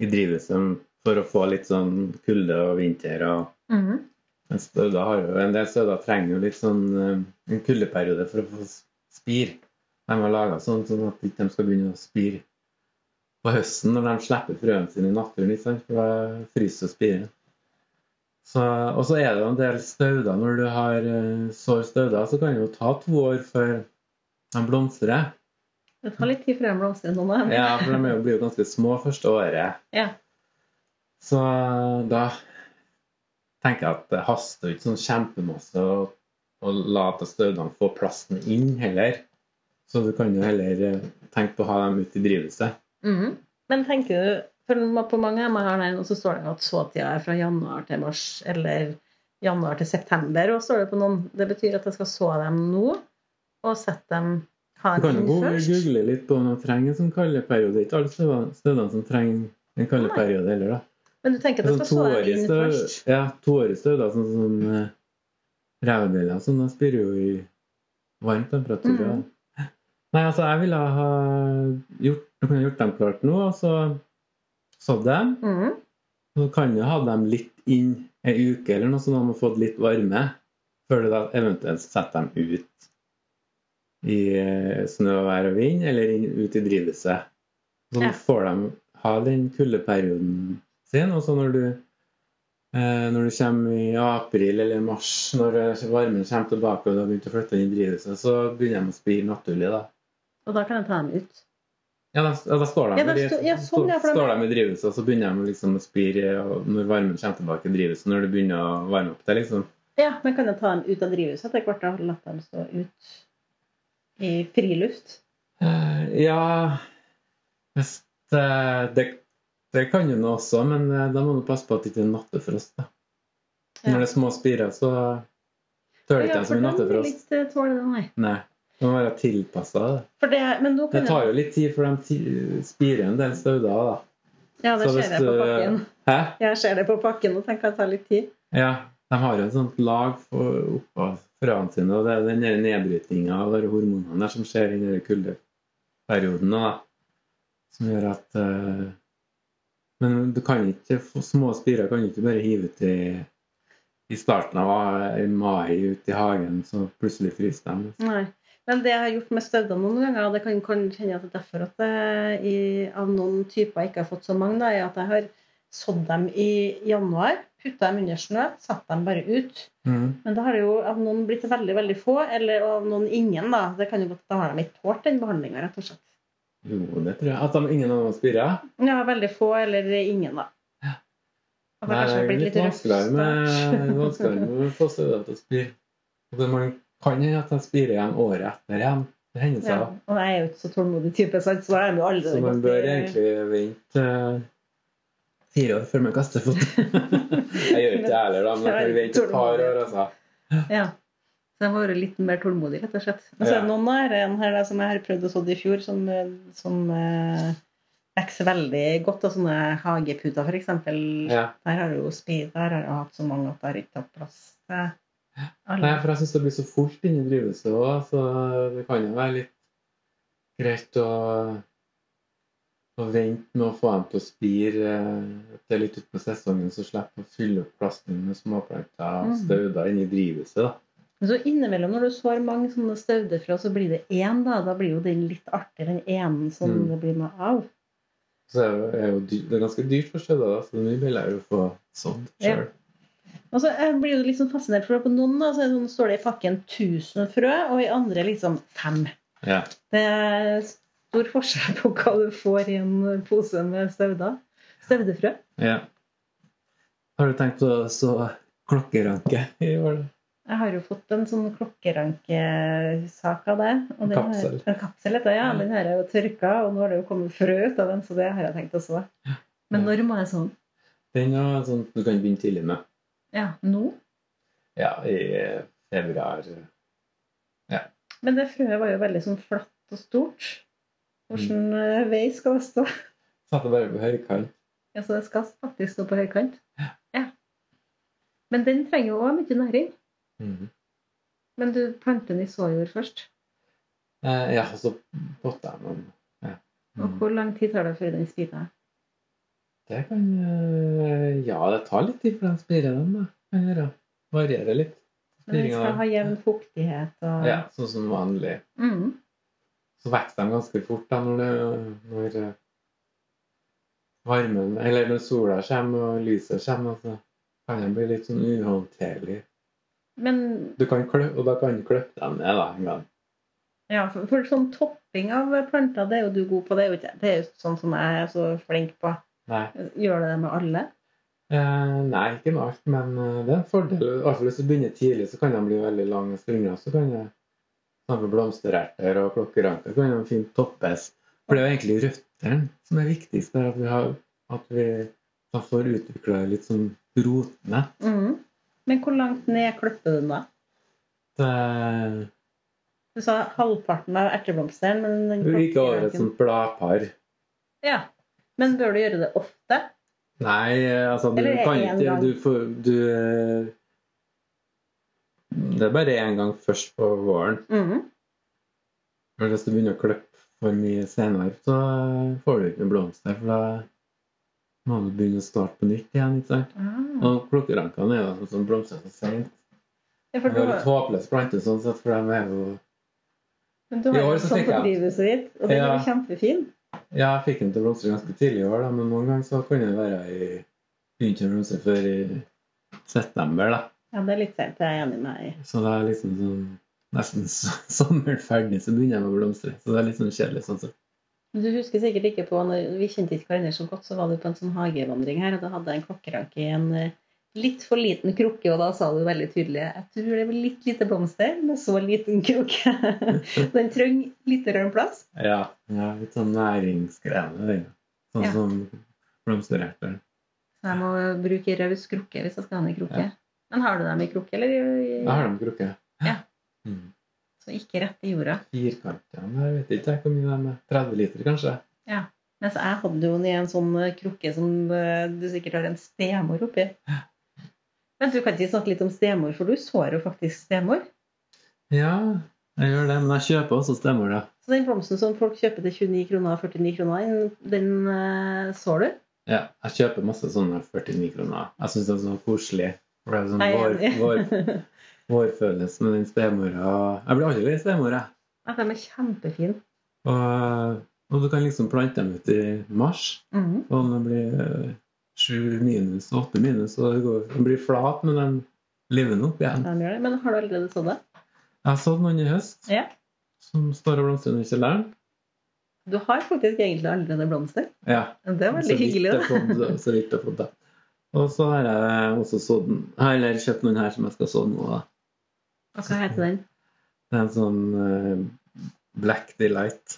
[SPEAKER 2] i drivhuset for å få litt sånn kulde og vinter. og Men støvler har jo, en del støvler trenger jo litt sånn eh, en kuldeperiode for å få s- spir. De har laga sånn sånn at ikke de ikke skal begynne å spire på høsten når de slipper frøene sine i naturen. Ikke sant? For da fryser jo spiren. Så, og så er det jo en del stauder. Når du har eh, sår stauder, så kan det jo ta to år før de blomstrer.
[SPEAKER 1] Det tar litt tid før jeg blomstrer nå. nå.
[SPEAKER 2] Ja, for de er jo- blir jo ganske små første året.
[SPEAKER 1] Ja.
[SPEAKER 2] Så da tenker jeg at det haster jo ikke sånn kjempemasse å, å la at støvlene få plassen inn heller. Så du kan jo heller eh, tenke på å ha dem ute i drivhuset.
[SPEAKER 1] Mhm. Men tenker du for På mange av meg her nå så står det at såtida er fra januar til mars, eller januar til september. og står Det på noen. Det betyr at jeg skal så dem nå, og sette dem ha
[SPEAKER 2] Du
[SPEAKER 1] dem
[SPEAKER 2] kan jo
[SPEAKER 1] inn
[SPEAKER 2] gå-
[SPEAKER 1] først.
[SPEAKER 2] google litt på om de trenger en sånn kaldeperiode. Det er Ikke alle støvlene støvlene som trenger en kaldeperiode heller, da.
[SPEAKER 1] Men du tenker at jeg
[SPEAKER 2] Sånn
[SPEAKER 1] skal så dem
[SPEAKER 2] toårig
[SPEAKER 1] inn
[SPEAKER 2] støv,
[SPEAKER 1] først?
[SPEAKER 2] ja, toårig støv, da, sånn som uh, rævebiller og sånn, da spirer jo i varm temperatur. ja.
[SPEAKER 1] Mhm.
[SPEAKER 2] Nei, altså, jeg ville ha gjort, du kunne gjort dem klart nå, og så sådd dem.
[SPEAKER 1] Mhm.
[SPEAKER 2] Og så kan du ha dem litt inn ei uke eller noe, så de har fått litt varme, før du da eventuelt setter dem ut i eh, snø, vær og vind, eller inn, ut i drivhuset. Så
[SPEAKER 1] Ja.
[SPEAKER 2] får de ha den kuldeperioden sin, og så når du eh, når du kommer i april eller mars, når eh, varmen kommer tilbake og du har begynt å flytte inn i drivhuset, så begynner de å spire naturlig. da.
[SPEAKER 1] Og da kan jeg ta dem ut.
[SPEAKER 2] Ja, da, ja, da står de,
[SPEAKER 1] Ja, da
[SPEAKER 2] i-
[SPEAKER 1] sto- ja, sånn, ja, for de-
[SPEAKER 2] står de i drivhuset, og så begynner de liksom å spire og når varmen kommer tilbake i drivhuset. Når det begynner å varme opp der, liksom.
[SPEAKER 1] Ja, Men kan jeg ta dem ut av drivhuset etter hvert? Da latt dem stå ut i friluft?
[SPEAKER 2] Eh, Ja hvis det, det, det kan jo nå også, men eh, da må du passe på at det ikke er nattefrost. da.
[SPEAKER 1] Ja.
[SPEAKER 2] Når det er små spirer, så tør det
[SPEAKER 1] Ja,
[SPEAKER 2] ikke
[SPEAKER 1] for
[SPEAKER 2] en som er
[SPEAKER 1] den er
[SPEAKER 2] nattefrost.
[SPEAKER 1] litt Sånn, eh, tåler den, nei.
[SPEAKER 2] Nei. Det må være tilpassa det.
[SPEAKER 1] For det- Men nå
[SPEAKER 2] Det
[SPEAKER 1] kan jeg
[SPEAKER 2] tar jo litt tid, for de ti- eh, spirer en del stauder, da.
[SPEAKER 1] Ja, det
[SPEAKER 2] så hvis
[SPEAKER 1] ser jeg på
[SPEAKER 2] du-
[SPEAKER 1] pakken.
[SPEAKER 2] Hæ?
[SPEAKER 1] Jeg ser det på pakken og tenker at det tar litt tid.
[SPEAKER 2] Ja, de har jo et sånt lag for- oppå frøene sine, og det er den nedbrytinga av de hormonene der som skjer i den kuldeperioden, da, som gjør at eh, Men du kan ikke, få- små spirer kan du ikke bare hive ut i, i starten av eh, i mai ut i hagen, så plutselig fryser de.
[SPEAKER 1] Nei. Men det jeg har gjort med støvdene noen ganger, og det kan, kan kjenne at det er derfor at jeg i, av noen typer jeg ikke har fått så mange, da, er at jeg har sådd dem i januar, putta dem under snø, satt dem bare ut.
[SPEAKER 2] Mm.
[SPEAKER 1] Men da har det jo av noen blitt veldig veldig få, eller av noen ingen. Da Det kan jo godt, da har de ikke tålt den behandlinga, rett og slett.
[SPEAKER 2] Jo, det tror jeg. At de, ingen av dem spirer?
[SPEAKER 1] Ja, veldig få eller ingen, da. Og det
[SPEAKER 2] Nei,
[SPEAKER 1] har
[SPEAKER 2] det
[SPEAKER 1] kanskje
[SPEAKER 2] er
[SPEAKER 1] blitt
[SPEAKER 2] litt
[SPEAKER 1] røff
[SPEAKER 2] vanskeligere
[SPEAKER 1] start.
[SPEAKER 2] med, vanskeligere med å få støvler til å spire. Og det- Man kan hende at de spirer igjen året etter igjen. Det hender
[SPEAKER 1] [laughs]
[SPEAKER 2] seg.
[SPEAKER 1] Ja.
[SPEAKER 2] da.
[SPEAKER 1] Og jeg er jo ikke så tålmodig type, sant? så da er de jo allerede
[SPEAKER 2] Så man
[SPEAKER 1] godt i-
[SPEAKER 2] bør egentlig vente eh, fire år før man kaster fot.
[SPEAKER 1] [laughs]
[SPEAKER 2] jeg gjør ikke det heller, da, men jeg får vente et par år. altså.
[SPEAKER 1] Ja. Så jeg har vært litt mer tålmodig, rett og slett. Men så er
[SPEAKER 2] Ja.
[SPEAKER 1] det Altså, noen av dem her da, som jeg har prøvd å sådde i fjor, som, eh, som eh, vokser veldig godt. Og sånne hageputer, for eksempel.
[SPEAKER 2] Ja.
[SPEAKER 1] Der har du jo speed, der har jeg hatt så mange at jeg har ikke tatt plass til
[SPEAKER 2] Nei,
[SPEAKER 1] alle.
[SPEAKER 2] for jeg syns det blir så fort inni drivhuset òg, så det kan jo være litt greit å, å vente med å få dem til å spire eh, til litt utpå sesongen, så slipper man å fylle opp plasten med småplanter og
[SPEAKER 1] Mhm.
[SPEAKER 2] stauder inni drivhuset. da.
[SPEAKER 1] Men så innimellom, når du sår mange sånne stauder fra, så blir det én, da. Da blir jo den litt artigere enn enen som
[SPEAKER 2] Mm.
[SPEAKER 1] det blir med av.
[SPEAKER 2] Så er det, er jo dyr, det er ganske dyrt for stauder, da, så det er mye billigere å få sådd
[SPEAKER 1] Ja.
[SPEAKER 2] sjøl.
[SPEAKER 1] Og så jeg blir jo litt sånn fascinert, for på noen da, så er det sånn, står det i pakken 1000 frø, og i andre liksom fem.
[SPEAKER 2] Ja.
[SPEAKER 1] Det er stor forskjell på hva du får i en pose med stauder. Staudefrø.
[SPEAKER 2] Ja. Har du tenkt på å så klokkeranke i år? da?
[SPEAKER 1] Jeg har jo fått en sånn klokkerankesak av det. og den har-
[SPEAKER 2] Kapsel.
[SPEAKER 1] En kapsel heter det, ja.
[SPEAKER 2] Ja.
[SPEAKER 1] Den har jeg jo tørka, og nå har det jo kommet frø ut av den, så det har jeg tenkt å så. Men
[SPEAKER 2] Ja.
[SPEAKER 1] når må jeg sånn?
[SPEAKER 2] Den er sånn du kan begynne tidlig med.
[SPEAKER 1] Ja, nå?
[SPEAKER 2] Ja, i februar.
[SPEAKER 1] Men det frøet var jo veldig sånn flatt og stort.
[SPEAKER 2] Mm.
[SPEAKER 1] Hvordan eh, vei skal det stå? [laughs]
[SPEAKER 2] Satt jeg bare på høykant.
[SPEAKER 1] Ja, så det skal faktisk stå på høykant. Ja. Men den trenger jo òg mye næring. Men du planter den i såjord først.
[SPEAKER 2] Eh, ja, og så potta jeg noen. Ja. Mm.
[SPEAKER 1] Og hvor lang tid tar det før den spirer?
[SPEAKER 2] Det kan eh, Ja, det tar litt tid, for den spirer, den. da. Kan gjøre. Varierer litt.
[SPEAKER 1] Men den skal
[SPEAKER 2] Spiringa,
[SPEAKER 1] ha jevn fuktighet og
[SPEAKER 2] Ja, sånn som vanlig.
[SPEAKER 1] mm.
[SPEAKER 2] Så vokser de ganske fort da, når, det, når eh, varmen Eller når sola kommer og lyset kommer. Så kan de bli litt sånn uhåndterlig.
[SPEAKER 1] Men
[SPEAKER 2] Du kan klø, og da kan du klippe dem ned da, en gang.
[SPEAKER 1] ja, for, for sånn topping av planter, det er jo du god på. Det er jo, ikke- det er jo sånn som jeg er så flink på.
[SPEAKER 2] Nei.
[SPEAKER 1] Gjør du det med alle?
[SPEAKER 2] Eh, nei, ikke med alt, men eh, det er en fordel. I hvert fall hvis du begynner tidlig, så kan de bli veldig lange strimler. Så kan det samme blomstererter og klokkeranker kan de fint toppes. For det er jo egentlig røttene som er viktigst. Det er at vi, har, at vi da får utvikla litt sånn rotene.
[SPEAKER 1] Mm. Men hvor langt ned klipper du den da?
[SPEAKER 2] Det eh,
[SPEAKER 1] Du sa halvparten av erteblomsteren. Men den
[SPEAKER 2] er ikke over et
[SPEAKER 1] klokkeranken-
[SPEAKER 2] sånt bladpar.
[SPEAKER 1] Ja. Men bør du gjøre det ofte?
[SPEAKER 2] Nei, eh, altså du
[SPEAKER 1] Eller er det
[SPEAKER 2] kan
[SPEAKER 1] en
[SPEAKER 2] ikke
[SPEAKER 1] gang?
[SPEAKER 2] Du får Du eh, Det er bare én gang først på våren.
[SPEAKER 1] Mm.
[SPEAKER 2] Men hvis du begynner å klippe for mye senere, så får du ikke noen blomster. For da må du begynne å starte på nytt igjen. ikke sant?
[SPEAKER 1] Ah.
[SPEAKER 2] Og klokkerankene er jo sånn som blomstrer så sent.
[SPEAKER 1] Ja, for
[SPEAKER 2] Det
[SPEAKER 1] du
[SPEAKER 2] er jo
[SPEAKER 1] har-
[SPEAKER 2] litt håpløs plante sånn sett, for de er jo
[SPEAKER 1] Men du
[SPEAKER 2] I
[SPEAKER 1] har jo
[SPEAKER 2] år
[SPEAKER 1] en
[SPEAKER 2] så
[SPEAKER 1] sånn
[SPEAKER 2] tenker jeg at-
[SPEAKER 1] fordrivelse ditt, og den er jo
[SPEAKER 2] Ja.
[SPEAKER 1] kjempefin.
[SPEAKER 2] Ja, jeg fikk dem til å blomstre ganske tidlig i år, da, men noen ganger så kunne det være i Begynte å blomstre før i september, da.
[SPEAKER 1] Ja, det er litt seint, det er jeg enig med deg i.
[SPEAKER 2] Så det er liksom sånn Nesten s- [laughs] sommeren ferdig, så begynner de å blomstre. Så det er litt sånn kjedelig sånn sett.
[SPEAKER 1] Men Du husker sikkert ikke på når Vi kjente ikke hverandre så godt, så var du på en sånn hagevandring her, og da hadde jeg en klokkeranke i en eh, litt for liten krukke, og da sa du veldig tydelig Jeg tror det blir litt lite blomster med så liten krukke. [laughs] den trenger litt rød plass.
[SPEAKER 2] Ja. ja litt sånn næringsgreiene, det. Sånn
[SPEAKER 1] Ja.
[SPEAKER 2] som blomstererter.
[SPEAKER 1] Så jeg må bruke raus krukke hvis jeg skal ha den i krukke. Men har du dem i krukke, eller? i-
[SPEAKER 2] Jeg har dem krukke.
[SPEAKER 1] Ja.
[SPEAKER 2] Mm.
[SPEAKER 1] Så ikke rett i jorda.
[SPEAKER 2] Firkantene jeg vet ikke jeg hvor mye de er. 30 liter, kanskje?
[SPEAKER 1] Mens jeg hadde jo den i en sånn eh, krukke som eh, du sikkert har en stemor oppi. Men du kan ikke snakke litt om stemor, for du sår jo faktisk stemor.
[SPEAKER 2] Ja, jeg gjør det. Men jeg kjøper også stemmer, da.
[SPEAKER 1] Så den blomsten som folk kjøper til 29 kroner og 49 kroner, den, den eh, sår du.
[SPEAKER 2] Ja, jeg kjøper masse sånne 49 kroner. Jeg syns det er så koselig. For det er sånn
[SPEAKER 1] Jeg er
[SPEAKER 2] vår, vår,
[SPEAKER 1] enig.
[SPEAKER 2] vårfølelse med den stemora. Jeg blir aldri lei stemor, jeg.
[SPEAKER 1] [laughs] Ja, den er kjempefin.
[SPEAKER 2] Og, og du kan liksom plante dem ut i mars.
[SPEAKER 1] Mhm.
[SPEAKER 2] Og den blir eh, sju minus, åtte minus, og det går, den blir flat, men den livner opp igjen.
[SPEAKER 1] Den gjør det. Men har du allerede sådd det?
[SPEAKER 2] Jeg har sådd noen i høst
[SPEAKER 1] Ja.
[SPEAKER 2] som står og blomstrer under kjelleren.
[SPEAKER 1] Du har faktisk egentlig allerede blomster.
[SPEAKER 2] Ja,
[SPEAKER 1] Det er
[SPEAKER 2] Så
[SPEAKER 1] veldig
[SPEAKER 2] vidt
[SPEAKER 1] hyggelig.
[SPEAKER 2] jeg
[SPEAKER 1] da.
[SPEAKER 2] fått- Så vidt jeg har fått det. Og så har jeg også sådd den- eller kjøpt sånn noen her som jeg skal så nå. da.
[SPEAKER 1] Og Hva heter den?
[SPEAKER 2] Det er en sånn eh, Black Delight.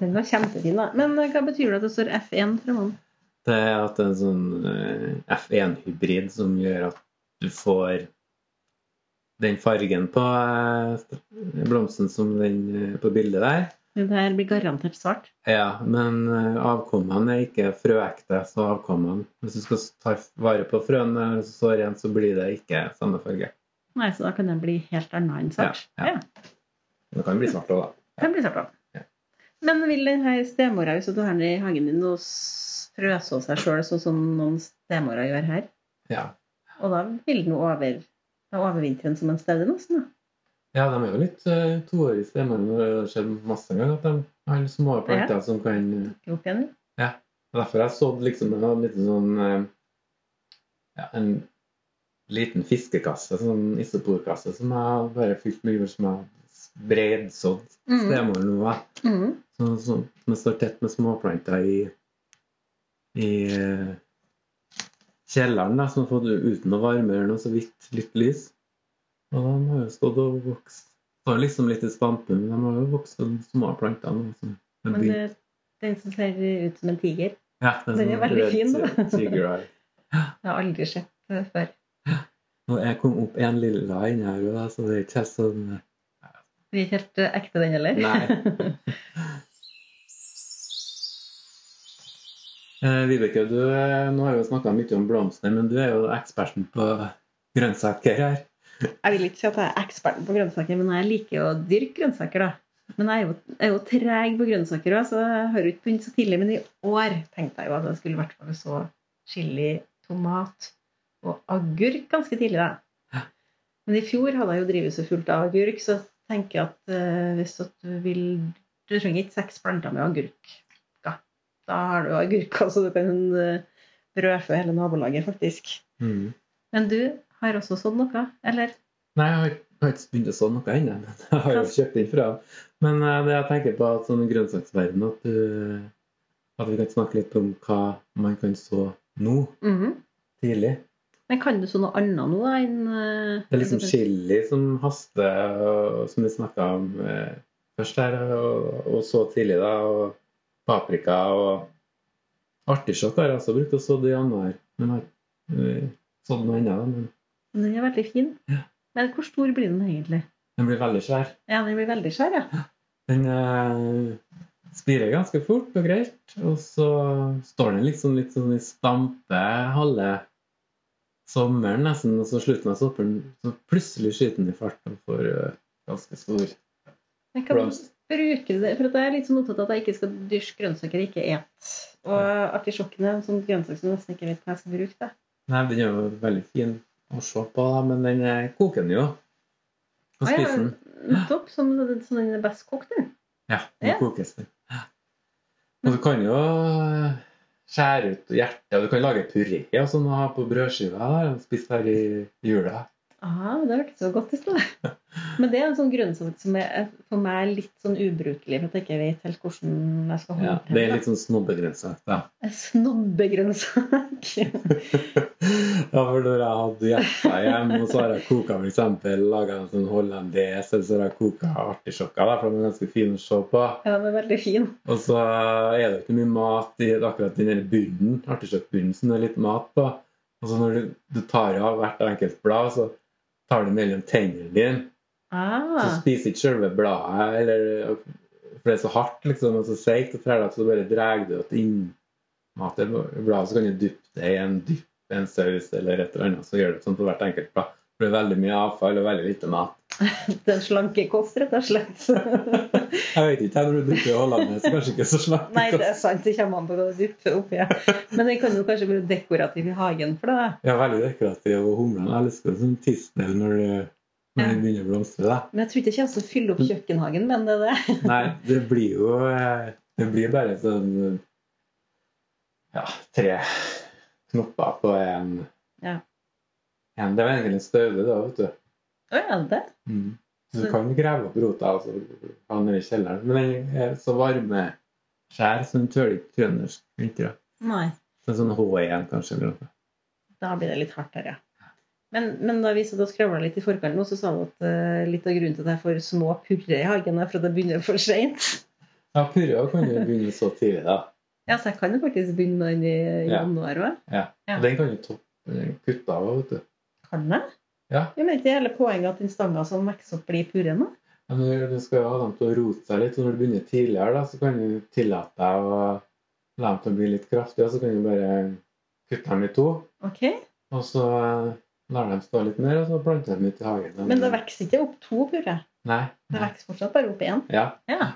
[SPEAKER 1] Den var kjempefin, da. Men eh, hva betyr det at det står F1 framme?
[SPEAKER 2] Det er at det er en sånn eh, F1-hybrid som gjør at du får den fargen på eh, blomsten som den eh, på bildet der.
[SPEAKER 1] Det her blir garantert svart.
[SPEAKER 2] Ja, men eh, avkommene er ikke frøekte, så avkommene Hvis du skal ta vare på frøene og så rent, så blir det ikke samme farge.
[SPEAKER 1] Nei, så da kan den bli helt annet enn svart.
[SPEAKER 2] Ja, ja. Det kan bli svart òg, da.
[SPEAKER 1] Den blir svart, da.
[SPEAKER 2] Ja.
[SPEAKER 1] Men vil den her stemora, hvis du har den i hagen din, og s- frøse av seg sjøl, sånn som noen stemorer gjør her,
[SPEAKER 2] Ja.
[SPEAKER 1] og da vil den jo over da overvintre den som en staude, nesten? da.
[SPEAKER 2] ja, de er jo litt uh, toårige stemmer. Det har skjedd masse ganger at de har små planter som kan eh,
[SPEAKER 1] Ikke opp igjen.
[SPEAKER 2] Derfor har jeg sådd liksom en sånn liten sånn eh, ja, En liten fiskekasse, sånn isoporkasse, som jeg har bare fylt med jord som jeg har bredsådd
[SPEAKER 1] Mm.
[SPEAKER 2] stemor nå. da.
[SPEAKER 1] Mm.
[SPEAKER 2] Sånn som som står tett med småplanter i, i eh, kjelleren, da, som har fått uten å varme eller noe så vidt litt lys. Og de har jo stått og vokst. Står liksom litt i stampe, men de har jo vokst som små planter nå. Som har
[SPEAKER 1] Men
[SPEAKER 2] begynt.
[SPEAKER 1] det, den som ser ut som en tiger,
[SPEAKER 2] ja, det
[SPEAKER 1] den er
[SPEAKER 2] sånn
[SPEAKER 1] veldig
[SPEAKER 2] red
[SPEAKER 1] fin, da.
[SPEAKER 2] tiger eye.
[SPEAKER 1] jeg har aldri sett det før.
[SPEAKER 2] Og jeg kom opp en lilla inni her, og da, så det er ikke helt sånn
[SPEAKER 1] Vi er ikke helt eh, ekte, den heller.
[SPEAKER 2] Nei. Eh, Vibeke, du, eh, nå har vi jo snakka mye om blomster, men du er jo eksperten på grønnsaker her.
[SPEAKER 1] jeg vil ikke si at jeg er eksperten på grønnsaker, men jeg liker jo å dyrke grønnsaker, da. Men jeg er jo, jeg er jo treg på grønnsaker òg, så jeg har jo ikke begynt så tidlig. Men i år tenkte jeg jo at jeg skulle i hvert fall så chili, tomat og agurk ganske tidlig, da. Men i fjor hadde jeg jo drivhuset fullt av agurk, så jeg tenker at eh, hvis at du vil Du trenger ikke seks planter med agurk. Da, da har du jo agurker, [laughs] så du kan uh, brødfø hele nabolaget, faktisk. Men du har også sådd noe, eller?
[SPEAKER 2] Nei, jeg har, jeg har ikke begynt å så noe ennå, men [laughs] jeg har jo kjøpt inn fra Men eh, det jeg tenker på at sånn i grønnsaksverdenen, at, du- at vi kan snakke litt om hva man kan så nå,
[SPEAKER 1] Mhm.
[SPEAKER 2] tidlig.
[SPEAKER 1] Men kan du så noe annet nå da, enn eh,
[SPEAKER 2] Det er liksom chili som haster, og, som vi snakka om eh, først her, og, og så tidlig, da. Og paprika og artisjokk har jeg også brukt å sådd i januar. Men har eh, sådd noe ennå. da, Men
[SPEAKER 1] Den er veldig fin. Men hvor stor blir den egentlig?
[SPEAKER 2] den blir veldig svær.
[SPEAKER 1] Ja, den blir veldig svær, ja.
[SPEAKER 2] Den eh, spirer ganske fort og greit. Og så står den liksom litt sånn i stampe halve sommeren nesten, og så slutten av sommeren, så plutselig skyter den i fart og får eh, ganske stor
[SPEAKER 1] Jeg kan
[SPEAKER 2] blomst.
[SPEAKER 1] bruke det, for at jeg er litt sånn opptatt av at jeg ikke skal dyrke grønnsaker jeg ikke et. Og artisjokkene er en sånn grønnsak som jeg nesten ikke vet hva jeg skal bruke. Da.
[SPEAKER 2] Nei, den er jo veldig fin å se på, da, men den eh, koker den jo. På
[SPEAKER 1] Å, ja,
[SPEAKER 2] spissen.
[SPEAKER 1] Nettopp, som som den er best kokt, den.
[SPEAKER 2] Ja, den
[SPEAKER 1] Ja.
[SPEAKER 2] kokes den. Og du kan jo eh, skjære ut hjertet, og du kan lage puré og sånn å ha på brødskiva. da, og Spise her i jula.
[SPEAKER 1] Ah, det hørtes så godt ut. da.
[SPEAKER 2] [laughs]
[SPEAKER 1] Men det er en sånn grønnsak som er for meg er litt sånn ubrukelig, for at jeg ikke vet helt hvordan jeg skal
[SPEAKER 2] Ja,
[SPEAKER 1] håndtere [laughs]
[SPEAKER 2] det er litt sånn snobbegrensa. da.
[SPEAKER 1] En snobbegrønnsak.
[SPEAKER 2] Ja, for når jeg hadde hjertet hjemme, og så har jeg koka for eksempel, laga en sånn hollandes, eller så har jeg koka artisjokker, da, for de er ganske fine å se på.
[SPEAKER 1] [laughs] Ja, den er veldig fin.
[SPEAKER 2] Og så er det jo ikke mye mat i akkurat den der bunnen, artisjokkbunnen som det er litt mat på. Og så når du, du tar av hvert enkelt blad, så tar du mellom tennene dine. Så
[SPEAKER 1] Ah,
[SPEAKER 2] spiser ikke selve bladet, eller, for det er så hardt liksom, og så seigt, og trær, så bare drar du det innmat i bladet. Så kan du dyppe det i en dypp, en saus eller et eller annet. Så gjør du det sånn på hvert enkelt blad. For det er veldig mye avfall og veldig lite mat.
[SPEAKER 1] den slanke kost, rett og slett.
[SPEAKER 2] Jeg vet ikke, når du dypper i hollandes, kanskje ikke så slapp.
[SPEAKER 1] [laughs] Nei, det er sant. Det kommer an på hva du dypper oppi. Ja. Men den kan jo kanskje bli dekorativ i hagen for det.
[SPEAKER 2] Ja, veldig dekorativ og humlene. Jeg elsker det som tissnel når det når det begynner å blomstre. da.
[SPEAKER 1] Men jeg tror ikke det kommer til å fylle opp kjøkkenhagen, men det er det.
[SPEAKER 2] Nei, det blir jo eh, Det blir bare sånn eh, Ja, tre knopper på en,
[SPEAKER 1] Ja.
[SPEAKER 2] en Det er egentlig en staude, da, vet du.
[SPEAKER 1] Å ja, det.
[SPEAKER 2] Mm. Så du kan grave opp rota og så ha den nede i kjelleren. Men den er så varmeskjær, så den tøler ikke trøndersk vinter. da.
[SPEAKER 1] Nei.
[SPEAKER 2] Så en sånn H1, kanskje. eller noe.
[SPEAKER 1] Da blir det litt hardt her, ja. Men, men da vi satt og skravla litt i forkant, nå, så sa han at eh, litt av grunnen til at jeg får små purrer i hagen, er for at jeg begynner for seint.
[SPEAKER 2] Ja, purra kan jo begynne så tidlig, da.
[SPEAKER 1] Ja, så jeg kan jo faktisk begynne med den i
[SPEAKER 2] Ja.
[SPEAKER 1] januar òg. Ja.
[SPEAKER 2] Den kan du toppe kutte av, vet du.
[SPEAKER 1] Kan jeg?
[SPEAKER 2] Ja.
[SPEAKER 1] Jeg mener ikke hele poenget at den stanga som vokser opp, blir purrende.
[SPEAKER 2] Ja, Men du skal jo ha dem til å rote seg litt. og Når du begynner tidligere, da, så kan du tillate deg å la dem til å bli litt kraftige. og Så kan du bare kutte dem i to,
[SPEAKER 1] Ok?
[SPEAKER 2] og så eh, lar dem stå litt mer, og så plante dem ut i hagen.
[SPEAKER 1] Men det vokser ikke opp to purrer.
[SPEAKER 2] Nei.
[SPEAKER 1] Det vokser fortsatt bare opp én.
[SPEAKER 2] Ja.
[SPEAKER 1] Ja.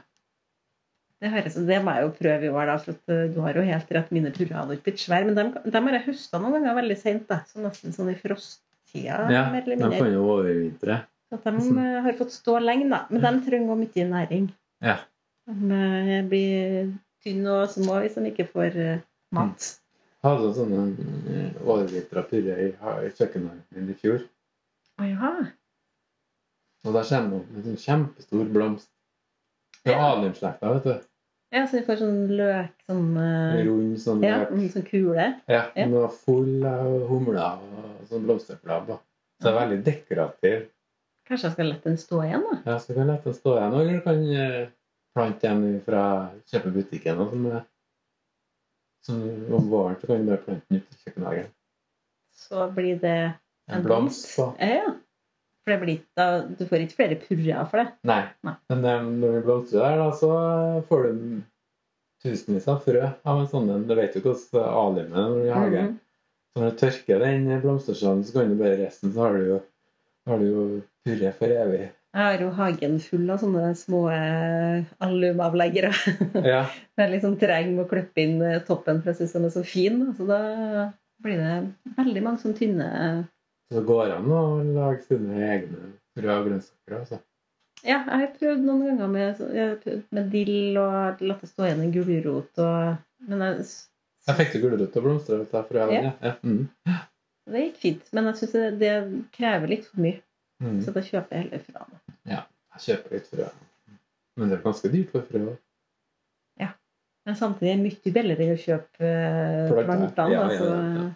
[SPEAKER 1] Det, høres, det må jeg jo prøve i år, da, for at eh, du har jo helt rett. Mine purrer hadde ikke blitt svære. Men dem, dem har jeg høsta noen ganger veldig seint. da. Så nesten sånn i frosttida.
[SPEAKER 2] ja. Mm.
[SPEAKER 1] mer
[SPEAKER 2] De
[SPEAKER 1] eller mindre.
[SPEAKER 2] kan jo overvintre.
[SPEAKER 1] Så at de eh, har fått stå lenge, da. Men de trenger også mye næring.
[SPEAKER 2] Ja.
[SPEAKER 1] De eh, blir tynne og små hvis de ikke får eh, mat.
[SPEAKER 2] Mm. Hadde sånne eh, overvintra purre i, ha- i kjøkkenhagen min i fjor.
[SPEAKER 1] Å ja.
[SPEAKER 2] Og da kommer det opp en sånn kjempestor blomst. Det er
[SPEAKER 1] Ja.
[SPEAKER 2] aliumslekta, vet du.
[SPEAKER 1] ja. Så vi får sånn løk sånn, eh,
[SPEAKER 2] Rund sånn
[SPEAKER 1] ja,
[SPEAKER 2] løk.
[SPEAKER 1] mm, sånn kule.
[SPEAKER 2] Ja,
[SPEAKER 1] Ja.
[SPEAKER 2] den var full av humler og sånn blomsterblad. da. Så det er veldig dekorativ.
[SPEAKER 1] Kanskje jeg skal la den stå igjen, da.
[SPEAKER 2] Ja, så du kan lette den stå igjen, eller du kan eh, plante den fra kjøpebutikken. Og sånn, eh, sånn, om våren så kan du bare plante den ut i kjøkkenhagen.
[SPEAKER 1] Så blir det
[SPEAKER 2] En blomst på.
[SPEAKER 1] Ja, ja. For det blir ikke, da, du får ikke flere purrer for det.
[SPEAKER 2] Nei.
[SPEAKER 1] Nei.
[SPEAKER 2] Men eh, når den blomstrer der, da, så får du tusenvis av frø av en sånn en. Du vet jo hvordan aliumet er når du har hagen.
[SPEAKER 1] Mhm.
[SPEAKER 2] Så når du tørker den blomsterstanden, så kan du bare resten, så har du jo, har du jo purre for
[SPEAKER 1] [laughs]
[SPEAKER 2] evig.
[SPEAKER 1] Jeg har jo hagen full av sånne små eh, alumavleggere. [laughs]
[SPEAKER 2] Ja.
[SPEAKER 1] Jeg er litt sånn treg med å klippe inn eh, toppen, for jeg syns den er så fin. da. Så da blir det veldig mange sånne tynne eh,
[SPEAKER 2] Så det går an å lage sine egne frø og grønnsaker. Altså.
[SPEAKER 1] Ja, jeg har prøvd noen ganger med, så- jeg har prøvd med dill og latt det stå igjen en gulrot og Men jeg,
[SPEAKER 2] Jeg fikk jo gulrot og blomster ut av frøene. Ja. Ja. Mm.
[SPEAKER 1] det gikk fint. Men jeg syns det, det krever litt for mye,
[SPEAKER 2] Mm.
[SPEAKER 1] så da kjøper jeg heller fra noe.
[SPEAKER 2] Jeg kjøper litt frø. Men det er ganske dyrt for frø. også.
[SPEAKER 1] Men samtidig er det mye billigere enn å kjøpe eh,
[SPEAKER 2] Planter.
[SPEAKER 1] plantene.
[SPEAKER 2] Ja,
[SPEAKER 1] da,
[SPEAKER 2] ja,
[SPEAKER 1] så,
[SPEAKER 2] ja, ja.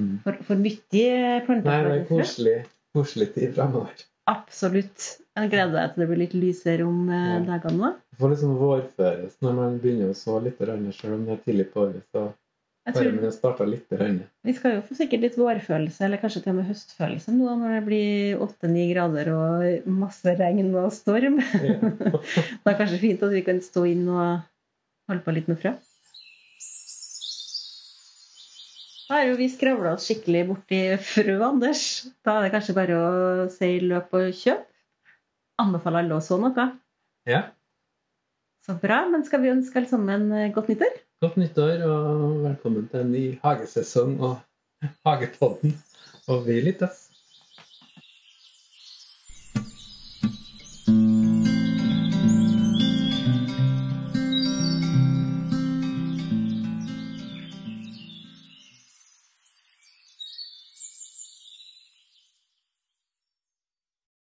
[SPEAKER 2] Mm.
[SPEAKER 1] For, for mye planter.
[SPEAKER 2] Nei, det
[SPEAKER 1] for
[SPEAKER 2] er
[SPEAKER 1] det første.
[SPEAKER 2] koselig, koselig tid framover.
[SPEAKER 1] Absolutt. Jeg gleder meg til det blir litt lysere om eh,
[SPEAKER 2] Ja.
[SPEAKER 1] dagene. da.
[SPEAKER 2] Du får liksom vårføres når man begynner å så litt, sjøl om det er tidlig på året. Så
[SPEAKER 1] Jeg
[SPEAKER 2] bare
[SPEAKER 1] tror
[SPEAKER 2] man starter litt. grann.
[SPEAKER 1] Vi skal jo få sikkert litt vårfølelse, eller kanskje til og med høstfølelse nå når det blir 8-9 grader og masse regn og storm.
[SPEAKER 2] Ja.
[SPEAKER 1] [laughs] Det er kanskje fint at vi kan stå inn og holde på litt med frø. Da har jo vi skravla oss skikkelig borti frø, Anders. Da er det kanskje bare å si løp og kjøp. Anbefaler alle å så noe.
[SPEAKER 2] [laughs] ja.
[SPEAKER 1] Så bra. Men skal vi ønske alle sammen eh, godt nyttår?
[SPEAKER 2] Godt nyttår, og velkommen til en ny hagesesong og Hagepodden. Og vi lyttes.